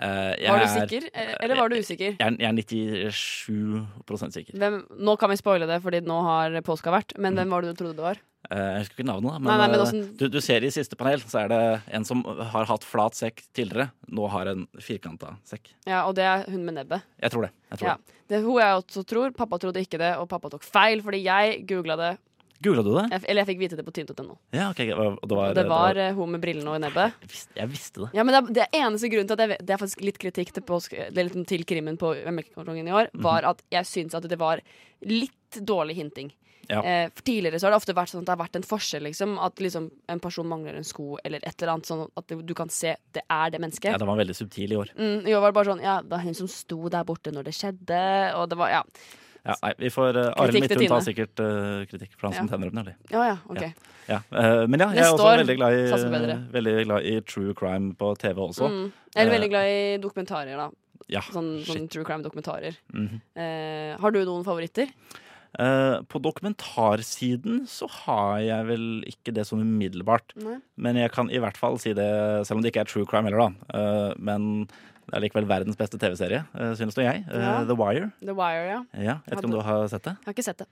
S3: Eh, jeg
S5: Var du
S3: er-
S5: sikker, eh, eller var du usikker?
S3: Jeg er, jeg er 97 sikker.
S5: Hvem, nå kan vi spoile det, fordi nå har påska vært. Men hvem var det du trodde det var?
S3: Eh, jeg husker ikke navnet, da, men,
S5: Nei, nei, men altså-
S3: eh,
S5: åssen-
S3: du, du ser i siste panel, så er det en som har hatt flat sekk tidligere, nå har en firkanta sekk.
S5: Ja, Og det er hun med nebbet.
S3: Jeg tror det. Jeg tror
S5: Ja.
S3: det.
S5: Det er hun jeg også tror. Pappa trodde ikke det, og pappa tok feil, fordi jeg googla det.
S3: Googla du det?
S5: Jeg, eller jeg fikk vite det på tynt.no.
S3: Ja, ok. Det var, det
S5: Og
S3: var,
S5: det var eh, hun med brillene og i nebbet.
S3: jeg, visste, jeg visste det.
S5: Ja, men det, er- det er eneste grunnen til at jeg vet, Det er faktisk litt kritikk til, påske, det er litt til krimmen på Melkekartongen i år, var
S3: Mhm.
S5: at jeg syns at det var litt dårlig hinting.
S3: Ja.
S5: Eh, for tidligere så har det ofte vært sånn at det har vært en forskjell, liksom. At liksom en person mangler en sko eller et eller annet, sånn at du kan se det er det mennesket.
S3: Ja, den var veldig subtil i år.
S5: Mm, I år var det bare sånn Ja, det var hun som sto der borte når det skjedde, og det var Ja.
S3: Ja, nei, vi får uh, Arild
S5: Kritikk til
S3: Midthun tar
S5: Tine.
S3: sikkert eh, kritikk for han som tenner opp nemlig.
S5: Ja, ja, OK.
S3: Ja. Ja. eh, men ja, jeg
S5: Neste
S3: er også
S5: år,
S3: veldig glad,
S5: satser
S3: i,
S5: på bedre.
S3: veldig glad i true crime på TV også.
S5: Mm. Jeg er
S3: Eh,
S5: veldig glad i dokumentarer, da.
S3: Ja,
S5: Sånn, sånn
S3: shit.
S5: true crime-dokumentarer.
S3: Mhm.
S5: eh, har du noen favoritter?
S3: Eh, på dokumentarsiden så har jeg vel ikke det sånn umiddelbart.
S5: Nei.
S3: Men jeg kan i hvert fall si det, selv om det ikke er true crime heller, da. Eh, men det er likevel verdens beste TV-serie, eh, synes nå jeg. Eh,
S5: Ja.
S3: The Wire.
S5: The Wire, ja.
S3: Ja, jeg vet ikke
S5: Hadde-
S3: om du har sett det?
S5: Jeg har ikke sett det.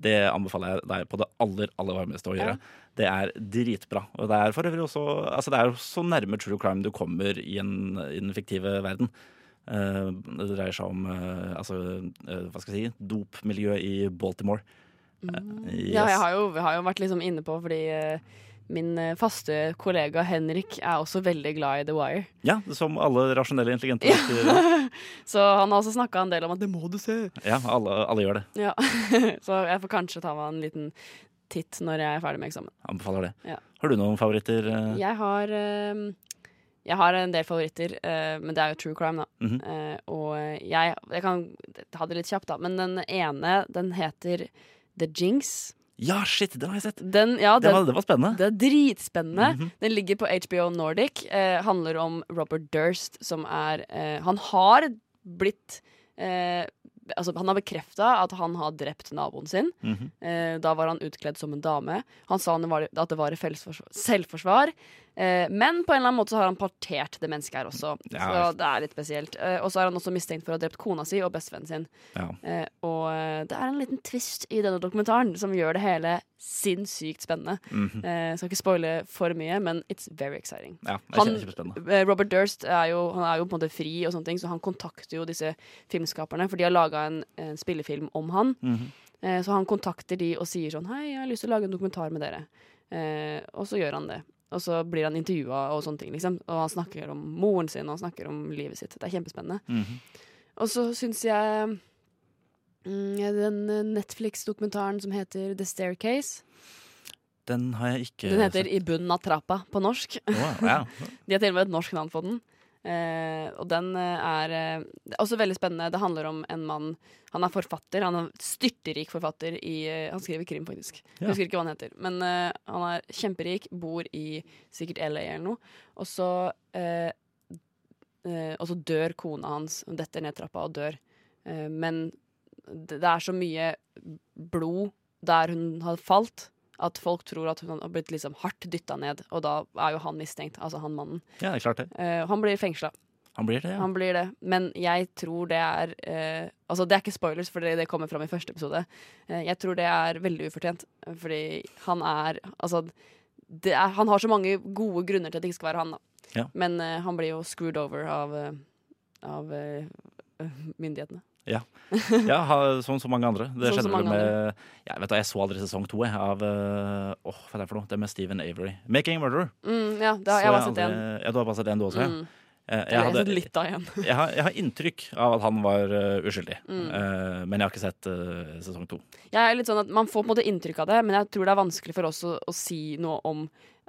S3: Det anbefaler jeg deg på det aller aller varmeste å gjøre. Det er dritbra. Og det er for øvrig også Altså, det er jo så nærme true crime du kommer i, en, i den fiktive verden. Eh, det dreier seg om eh, altså, eh, hva skal jeg si, dopmiljøet i Baltimore. Eh, yes.
S5: Mm. Ja, jeg har jo, jeg har jo vært liksom inne på fordi eh, min eh, faste kollega Henrik er også veldig glad i The Wire.
S3: Ja, som alle rasjonelle, intelligente mennesker.
S5: Så han har også snakka en del om at 'det må du se'.
S3: Ja, alle, alle gjør det.
S5: Ja. Så jeg får kanskje ta meg en liten titt når jeg er ferdig med eksamen.
S3: Anbefaler det.
S5: Ja.
S3: Har du noen favoritter? eh?
S5: Jeg har eh, Jeg har en del favoritter, eh, men det er jo true crime, da.
S3: Mhm.
S5: Eh, og jeg, jeg kan ta det litt kjapt, da. Men den ene, den heter The Jinx.
S3: Ja, shit, den har jeg sett!
S5: Den, ja,
S3: Det var,
S5: den,
S3: det var spennende.
S5: det er dritspennende. Den ligger på HBO Nordic. Eh, handler om Robert Durst, som er eh, Han har blitt eh, Altså, han har bekrefta at han har drept naboen sin.
S3: Mhm.
S5: Eh, da var han utkledd som en dame. Han sa han var, at det var i fellesforsvar- selvforsvar. Eh, men på en eller annen måte så har han partert det mennesket her også.
S3: Ja.
S5: Så det er litt spesielt. Eh, og så er han også mistenkt for å ha drept kona si og bestevennen sin.
S3: Ja.
S5: Eh, og eh, det er en liten twist i denne dokumentaren som gjør det hele sinnssykt spennende.
S3: Mhm.
S5: Eh, skal ikke spoile for mye, men it's very exciting.
S3: ja det er
S5: Han-
S3: kjempe- kjempespennende.
S5: Eh, Robert Durst er jo, han er jo på en måte fri, og sånne ting så han kontakter jo disse filmskaperne. For de har laga en, en spillefilm om han.
S3: Mhm.
S5: Eh, Så han kontakter de og sier sånn Hei, jeg har lyst til å lage en dokumentar med dere. Eh, og så gjør han det. Og så blir han intervjua og sånne ting, liksom. Og han snakker om moren sin, og han snakker om livet sitt. Det er kjempespennende.
S3: Mhm.
S5: Og så syns jeg mm, den eh, Netflix-dokumentaren som heter The Staircase
S3: Den har jeg ikke
S5: Den heter
S3: sett.
S5: I bunnen av trappa på norsk.
S3: Å, ja.
S5: De har til og med et norsk navn på den. Eh, og den eh, er eh, det er også veldig spennende. Det handler om en mann Han er forfatter. Han er en styrterik forfatter. I, eh, han skriver krim, faktisk.
S3: Ja.
S5: Jeg husker ikke hva han heter. Men eh, han er kjemperik, bor i sikkert LA eller noe. Og så, eh, eh, og så dør kona hans. Hun detter ned trappa og dør. Eh, men det, det er så mye blod der hun har falt. At folk tror at hun har blitt liksom hardt dytta ned, og da er jo han mistenkt. Altså han mannen.
S3: ja, det er klart det.
S5: Eh, han blir fengsla.
S3: Han blir det, ja.
S5: Han blir det. Men jeg tror det er eh, Altså, det er ikke spoilers, for det, det kommer fram i første episode. Eh, jeg tror det er veldig ufortjent, fordi han er Altså, det er, han har så mange gode grunner til at det ikke skal være han, da.
S3: Ja.
S5: Men eh, han blir jo screwed over av, eh, av eh, myndighetene.
S3: Ja, ha, som så mange andre. Det
S5: Som så
S3: skjedde vel
S5: mange
S3: med ja, vet du, Jeg så aldri sesong to jeg, av eh, åh, hva er det for noe? Det er med Steven Avery. 'Making a Murderer'.
S5: Mm, ja, det
S3: Så
S5: har, jeg har bare sett
S3: aldri-
S5: én.
S3: Ja, du har bare sett den, du også? Ja.
S5: Mm.
S3: Eh,
S5: Jeg
S3: Jeg,
S5: har
S3: hadde,
S5: sett litt av én.
S3: jeg, har, jeg har inntrykk av at han var eh, uskyldig,
S5: Mm.
S3: Eh, men jeg har ikke sett eh, sesong to.
S5: Jeg er litt sånn at Man får på en måte inntrykk av det, men jeg tror det er vanskelig for oss å, å si noe om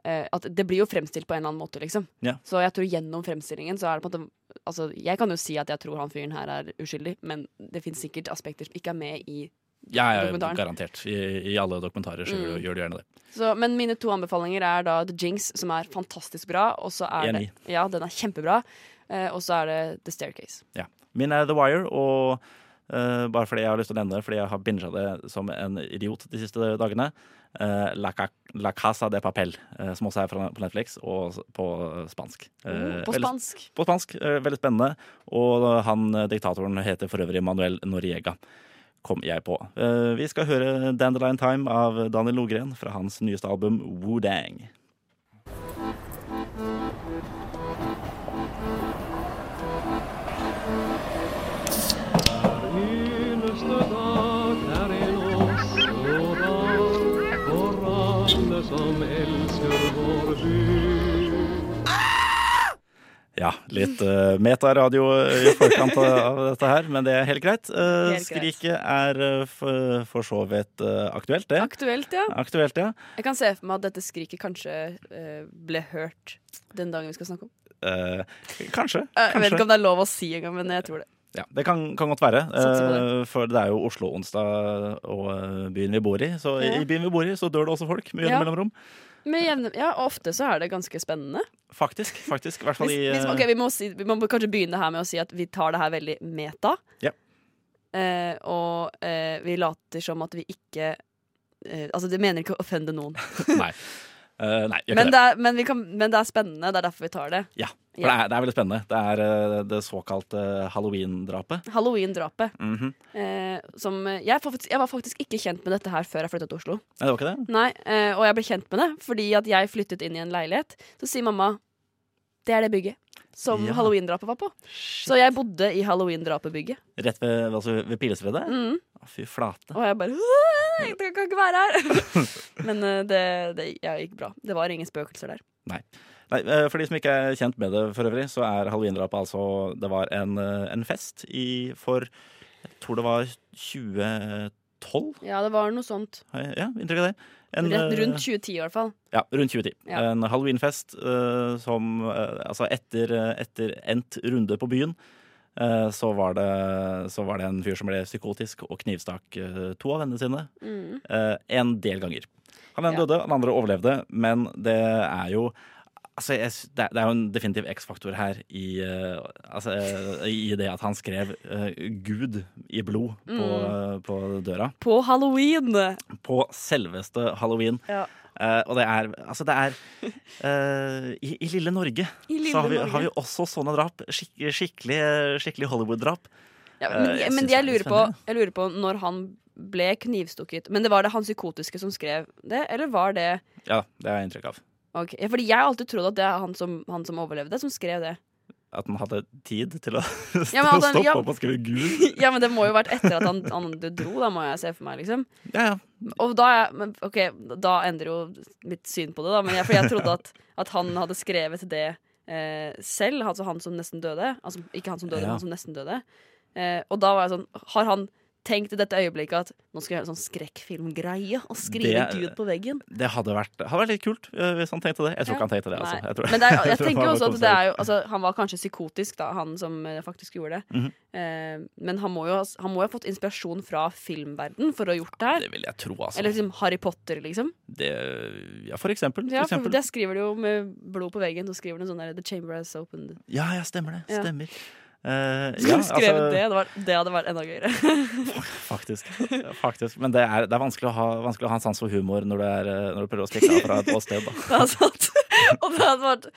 S5: eh, At det blir jo fremstilt på en eller annen måte, liksom.
S3: Ja.
S5: Så jeg tror gjennom fremstillingen så er det på en måte Altså, jeg kan jo si at jeg tror han fyren her er uskyldig, men det fins sikkert aspekter som ikke er med i
S3: Jeg er
S5: Dokumentaren. Mm.
S3: garantert. I, I alle dokumentarer så gjør, gjør de gjerne det.
S5: så, Men mine to anbefalinger er da The Jinx, som er fantastisk bra. Og så er det
S3: Enig.
S5: Ja, den er kjempebra. eh, og så er det The Staircase.
S3: Ja. Min er The Wire, og eh, bare fordi jeg har lyst til å nevne det, fordi jeg har binga det som en idiot de siste dagene. eh, La, Ca La Casa de Papel, eh, som også er fra, på Netflix, og s- på spansk. Eh,
S5: Oh, på
S3: veldig-
S5: spansk.
S3: på spansk. eh, Veldig spennende. Og han eh, diktatoren heter for øvrig Manuel Noriega. Kom jeg på. Eh, Vi skal høre Dandelion Time av Daniel Logren fra hans nyeste album Wudang. Ja, litt eh, metaradio i forkant av dette her, men det er helt greit. Eh,
S5: Helt greit.
S3: Skriket er eh, for, for så vidt eh, aktuelt, det.
S5: Aktuelt, ja.
S3: Aktuelt, ja.
S5: Jeg kan se for meg at dette skriket kanskje eh, ble hørt den dagen vi skal snakke om.
S3: Eh, kanskje.
S5: Eh, Jeg vet
S3: kanskje.
S5: ikke om det er lov å si engang, men jeg tror det.
S3: Ja, det kan, kan godt være.
S5: Satser på
S3: eh, For det er jo Oslo-onsdag og eh, byen vi bor i. Så i-
S5: Ja.
S3: i byen vi bor i, så dør det også folk med jevne
S5: Ja.
S3: mellomrom.
S5: Med jevne, ja, og ofte så er det ganske spennende.
S3: Faktisk. faktisk, I hvert fall
S5: Hvis,
S3: i
S5: hvis,
S3: eh,
S5: ok, vi, må si, vi må kanskje begynne her med å si at vi tar det her veldig meta.
S3: Ja.
S5: Eh, og eh, vi later som at vi ikke eh, Altså, det mener ikke å offende noen.
S3: Nei. Eh, nei gjør ikke
S5: Men
S3: det.
S5: det, er, men, vi kan, men det er spennende. Det er derfor vi tar det.
S3: Ja, for
S5: Ja.
S3: Det, er, det er veldig spennende. Det er eh, det såkalte halloween-drapet.
S5: Halloween-drapet.
S3: Mhm.
S5: Eh, som eh, jeg, får faktisk- jeg var faktisk ikke kjent med dette her før jeg flytta til Oslo.
S3: Nei, det var ikke det?
S5: Nei, eh, Og jeg ble kjent med det fordi at jeg flyttet inn i en leilighet. Så sier mamma det er det bygget som
S3: Ja.
S5: halloween-drapet var på. Så jeg bodde i halloween-drapebygget.
S3: Rett ved, altså ved Pilesfredet?
S5: Mm.
S3: Å, Fy flate.
S5: Og jeg bare «Åh, Jeg kan ikke være her! Men eh, det, det ja, gikk bra. Det var ingen spøkelser der.
S3: Nei, eh, For de som ikke er kjent med det for øvrig, så er halloweendrapet altså Det var en, eh, en fest i, for Jeg tror det var 2012?
S5: Ja, det var noe sånt.
S3: har jeg- Ja, inntrykk av det. En,
S5: Rett, rundt
S3: eh,
S5: 2010 i hvert fall.
S3: Ja, rundt 2010.
S5: Ja.
S3: En halloweenfest eh, som eh, Altså, etter, etter endt runde på byen, eh, så var, det, så var det en fyr som ble psykotisk og knivstakk eh, to av vennene sine
S5: Mm.
S3: eh, en del ganger. Han ene
S5: Ja.
S3: døde, han andre overlevde, men det er jo altså, jeg, s- det, er- det er jo en definitiv X-faktor her i, eh, altså, eh, i det at han skrev eh, 'Gud i blod' på,
S5: Mm.
S3: eh, på døra.
S5: På halloween!
S3: På selveste halloween.
S5: Ja.
S3: Eh, og det er Altså, det er eh, i, I lille Norge
S5: I lille
S3: så har vi,
S5: Norge.
S3: har vi også sånne drap. Skik, skikkelig skikkelig Hollywood-drap.
S5: men
S3: Eh, jeg
S5: jeg, men
S3: synes
S5: jeg,
S3: det er
S5: lurer på, jeg lurer på når han ble knivstukket. Men det var det han psykotiske som skrev det, eller var det
S3: Ja, det har jeg inntrykk av.
S5: Ok, ja, Fordi jeg har alltid trodd at det er han som, han som overlevde, som skrev det.
S3: At han hadde tid til å
S5: Ja, men at han-
S3: stoppe
S5: ja.
S3: opp og skrive 'Gud'.
S5: Ja, men det må jo ha vært etter at han, han dro, da må jeg se for meg, liksom.
S3: Ja, ja.
S5: Og da, er- men, ok, da endrer jo mitt syn på det, da. Men jeg, for jeg trodde at, at han hadde skrevet det eh, selv, altså han som nesten døde. Altså, ikke han som døde,
S3: Ja.
S5: men han som nesten døde. Eh, og da var jeg sånn Har han tenkt i dette øyeblikket at nå skal jeg gjøre en sånn skrekkfilmgreie og skrive
S3: Det-
S5: Gud på veggen?
S3: Det hadde vært, hadde vært litt kult eh, hvis han tenkte det. Jeg tror
S5: Ja.
S3: ikke han tenkte det.
S5: Nei.
S3: Altså. Jeg tror,
S5: Men det er, jeg,
S3: jeg tror
S5: tenker
S3: han
S5: jo
S3: bare
S5: også at
S3: kom
S5: det
S3: seg
S5: er jo altså, Han var kanskje psykotisk, da, han som eh, faktisk gjorde det.
S3: Mhm.
S5: eh, men han må, jo, ha- han må jo ha fått inspirasjon fra filmverden for å ha gjort det her.
S3: Det vil jeg tro, altså.
S5: Eller liksom Harry Potter, liksom.
S3: Det, ja, for eksempel. For
S5: Ja, for
S3: eksempel.
S5: Der skriver de jo med blod på veggen. Så skriver de sånn der The Chamber Has Opened.
S3: ja, ja, stemmer det.
S5: Ja.
S3: Stemmer. Eh, ja,
S5: Skulle du skrevet
S3: altså,
S5: det, det, var, det hadde vært enda gøyere.
S3: Faktisk. faktisk. Men det er, det er vanskelig, å ha, vanskelig å ha en sans for humor når du, er, eh, når du prøver å stikke av fra et åsted. Da.
S5: Det hadde satt. Og det hadde vært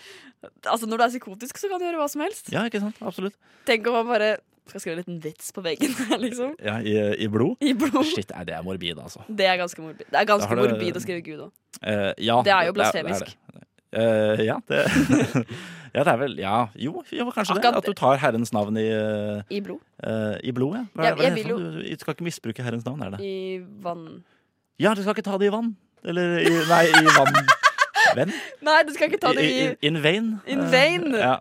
S5: Altså, når du er psykotisk, så kan du gjøre hva som helst.
S3: Ja, ikke sant? Absolutt.
S5: Tenk om man bare skal skrive en liten vits på veggen, liksom.
S3: Ja, i, I blod.
S5: I blod.
S3: Shit, nei, det er morbid, altså.
S5: Det er ganske morbid. Det er ganske
S3: har du-
S5: morbid å skrive Gud òg.
S3: Eh, ja,
S5: Det er jo
S3: det er
S5: blasfemisk.
S3: det. Eh, ja, det, ja, det er vel Ja, jo, jo kanskje
S5: Akkurat-
S3: det. At du tar Herrens navn i, eh,
S5: I blod.
S3: eh, i blod, ja. Hva,
S5: Jeg-
S3: er- hva er
S5: jeg
S3: det
S5: vil
S3: for noe? Du, du skal ikke misbruke Herrens navn, er det?
S5: I vann...
S3: Ja, du skal ikke ta det i vann. Eller i, nei, i vann. Venn?
S5: Nei, du skal ikke ta det i
S3: in vain.
S5: In vain?
S3: Eh, ja.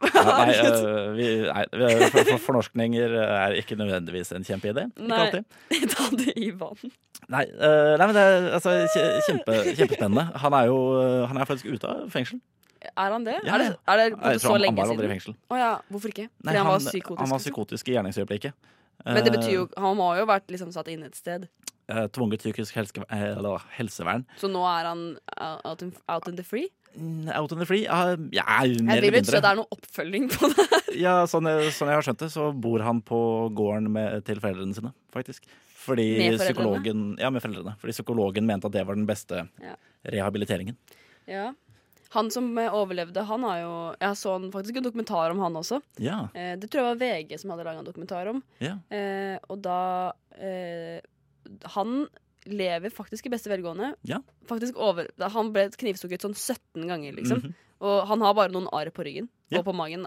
S3: Ja, nei, eh, vi, nei vi- for, for, fornorskninger eh, er ikke nødvendigvis en kjempeidé. Ikke
S5: Nei.
S3: alltid.
S5: Ta det i vann.
S3: Nei, eh, nei, men det er altså, kje- kjempe, kjempespennende. Han er jo eh, han er faktisk ute av fengsel.
S5: Er han det?
S3: Ja,
S5: Er det, er det
S3: Nei,
S5: på en måte
S3: jeg
S5: så
S3: tror han, han
S5: lenge
S3: var aldri i
S5: siden?
S3: fengsel.
S5: Å ja, hvorfor ikke? Fordi
S3: Nei,
S5: han, var psykotisk.
S3: han var
S5: liksom.
S3: psykotisk i gjerningsøyeblikket.
S5: Men det
S3: Eh,
S5: betyr jo Han må jo ha vært liksom, satt inne et sted.
S3: eh, Tvunget psykisk helske, eh, eller helsevern.
S5: Så nå er han out in, out in the free?
S3: Mm, Out on the free? Ja, ja, mer
S5: Jeg vil
S3: eller
S5: vel ikke si
S3: mindre.
S5: at det er noen oppfølging på det.
S3: Ja, sånn, jeg- sånn jeg har skjønt det, så bor han på gården med, til foreldrene sine, faktisk. Fordi
S5: Med foreldrene?
S3: psykologen Ja, med foreldrene. Fordi psykologen mente at det var den beste
S5: Ja.
S3: rehabiliteringen.
S5: Ja. Han som eh, overlevde, han har jo Jeg så han faktisk en dokumentar om han også.
S3: Ja,
S5: Eh, Det tror jeg var VG som hadde laga en dokumentar om.
S3: ja.
S5: Eh, og da eh, Han lever faktisk i beste velgående.
S3: Ja.
S5: Faktisk over, da han ble knivstukket sånn 17 ganger, liksom.
S3: Mhm.
S5: Og han har bare noen arr på ryggen
S3: Ja.
S5: og på magen.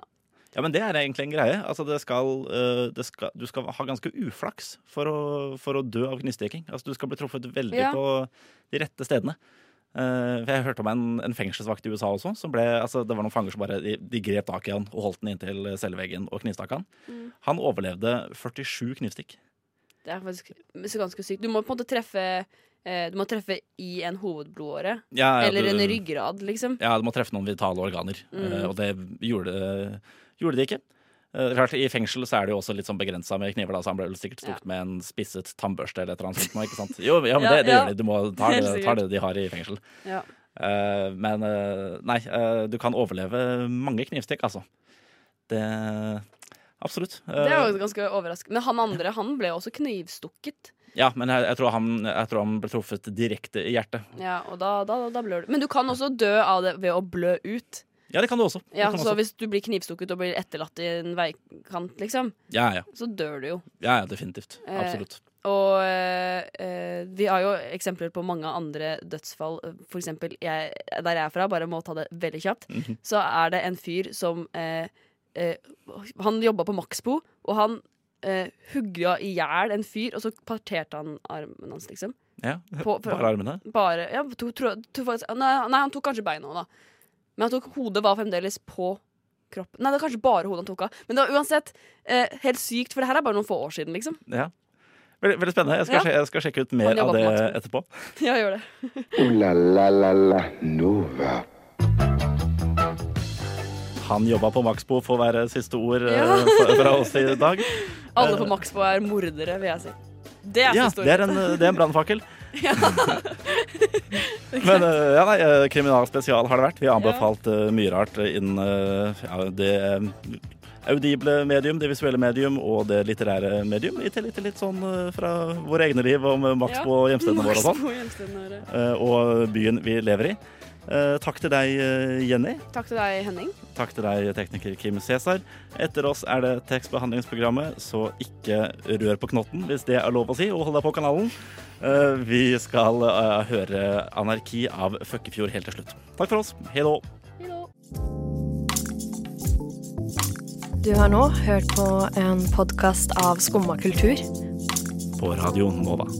S3: Ja, men det er egentlig en greie. Altså, det skal, eh, det skal, du skal ha ganske uflaks for å, for å dø av knivstikking. Altså, du skal bli truffet veldig
S5: Ja.
S3: på de rette stedene. Eh, for jeg hørte om en, en fengselsvakt i USA også. Som ble, altså, det var noen fanger som bare de, de grep tak i han og holdt den inntil celleveggen og knivstakk han.
S5: Mm.
S3: Han overlevde 47 knivstikk.
S5: Det er faktisk så ganske sykt. Du må på en måte treffe eh, Du må treffe i en hovedblodåre.
S3: Ja, ja,
S5: eller
S3: du-
S5: en ryggrad, liksom.
S3: Ja, du må treffe noen vitale organer,
S5: Mm.
S3: eh, og det gjorde, gjorde de ikke. Eh, det er klart, I fengsel så er det jo også litt sånn begrensa med kniver, da, så han ble vel sikkert stukket med en spisset tannbørste eller et eller annet sånt. nå, Ikke sant? Jo, ja, men
S5: Ja,
S3: det, det
S5: ja.
S3: gjør de. Du må ta
S5: Helt
S3: det, ta det de har i fengsel.
S5: Ja.
S3: Eh, men eh, nei, eh, du kan overleve mange knivstikk, altså. Det Absolutt. Eh,
S5: Det er jo ganske overraskende. Men han andre han ble også knivstukket.
S3: ja, men jeg, jeg, tror han, jeg tror han ble truffet direkte i hjertet.
S5: Ja, og da, da, da blør du. Men du kan også dø av det ved å blø ut.
S3: Ja, det kan du også. Det
S5: Ja,
S3: kan du
S5: så
S3: også.
S5: hvis du blir knivstukket og blir etterlatt i en veikant, liksom,
S3: ja, ja,
S5: så dør du jo.
S3: ja, ja, definitivt.
S5: Eh,
S3: Absolutt.
S5: Og eh, eh, vi har jo eksempler på mange andre dødsfall. For eksempel jeg, der jeg er fra, bare må ta det veldig kjapt,
S3: Mhm.
S5: så er det en fyr som eh, eh, Han jobba på Maxbo, og han uh, hugga i hjel en fyr, og så parterte han armen hans, liksom.
S3: Ja,
S5: På, for-
S3: Bare armene?
S5: bare ja, to, tro, to, nei, nei, han tok kanskje beina òg, da. Men han tok, hodet var fremdeles på kroppen. Nei, det var kanskje bare hodet han tok av. Men det var uansett eh, helt sykt, for det her er bare noen få år siden, liksom.
S3: Ja. Veldig, veldig spennende. Jeg skal,
S5: Ja.
S3: sje- jeg skal sjekke ut
S5: Han
S3: mer av
S5: jobber
S3: det
S5: på Maxbo.
S3: etterpå.
S5: Ja, gjør det.
S2: Ooh la la la la Nova.
S3: Han jobba på Maxbo, får være siste ord eh,
S5: Ja.
S3: fra- fra oss i dag.
S5: Alle på Maxbo er mordere, vil jeg si. Det er
S3: Ja,
S5: så stor
S3: det er en, det er en brannfakkel. Men eh, ja, nei, eh, kriminalspesial har det vært. Vi har anbefalt eh, mye rart innen eh, ja, det eh, audible medium, det visuelle medium og det litterære medium. Litt, litt, litt sånn eh, fra våre egne liv om eh, maks
S5: Ja.
S3: på hjemstedene våre og sånn.
S5: Maks på hjemstedene våre.
S3: eh, Og byen vi lever i. Eh, Takk til deg, eh, Jenny.
S5: Takk til deg, Henning.
S3: Takk til deg, tekniker Kim Cæsar. Etter oss er det tekstbehandlingsprogrammet, så ikke rør på knotten, hvis det er lov å si, og hold deg på kanalen. Eh, Vi skal eh, høre 'Anarki' av Føkkefjord helt til slutt. Takk for oss. Hei då.
S8: Du har nå hørt på en podkast av Skumma kultur.
S3: På Radio Nova.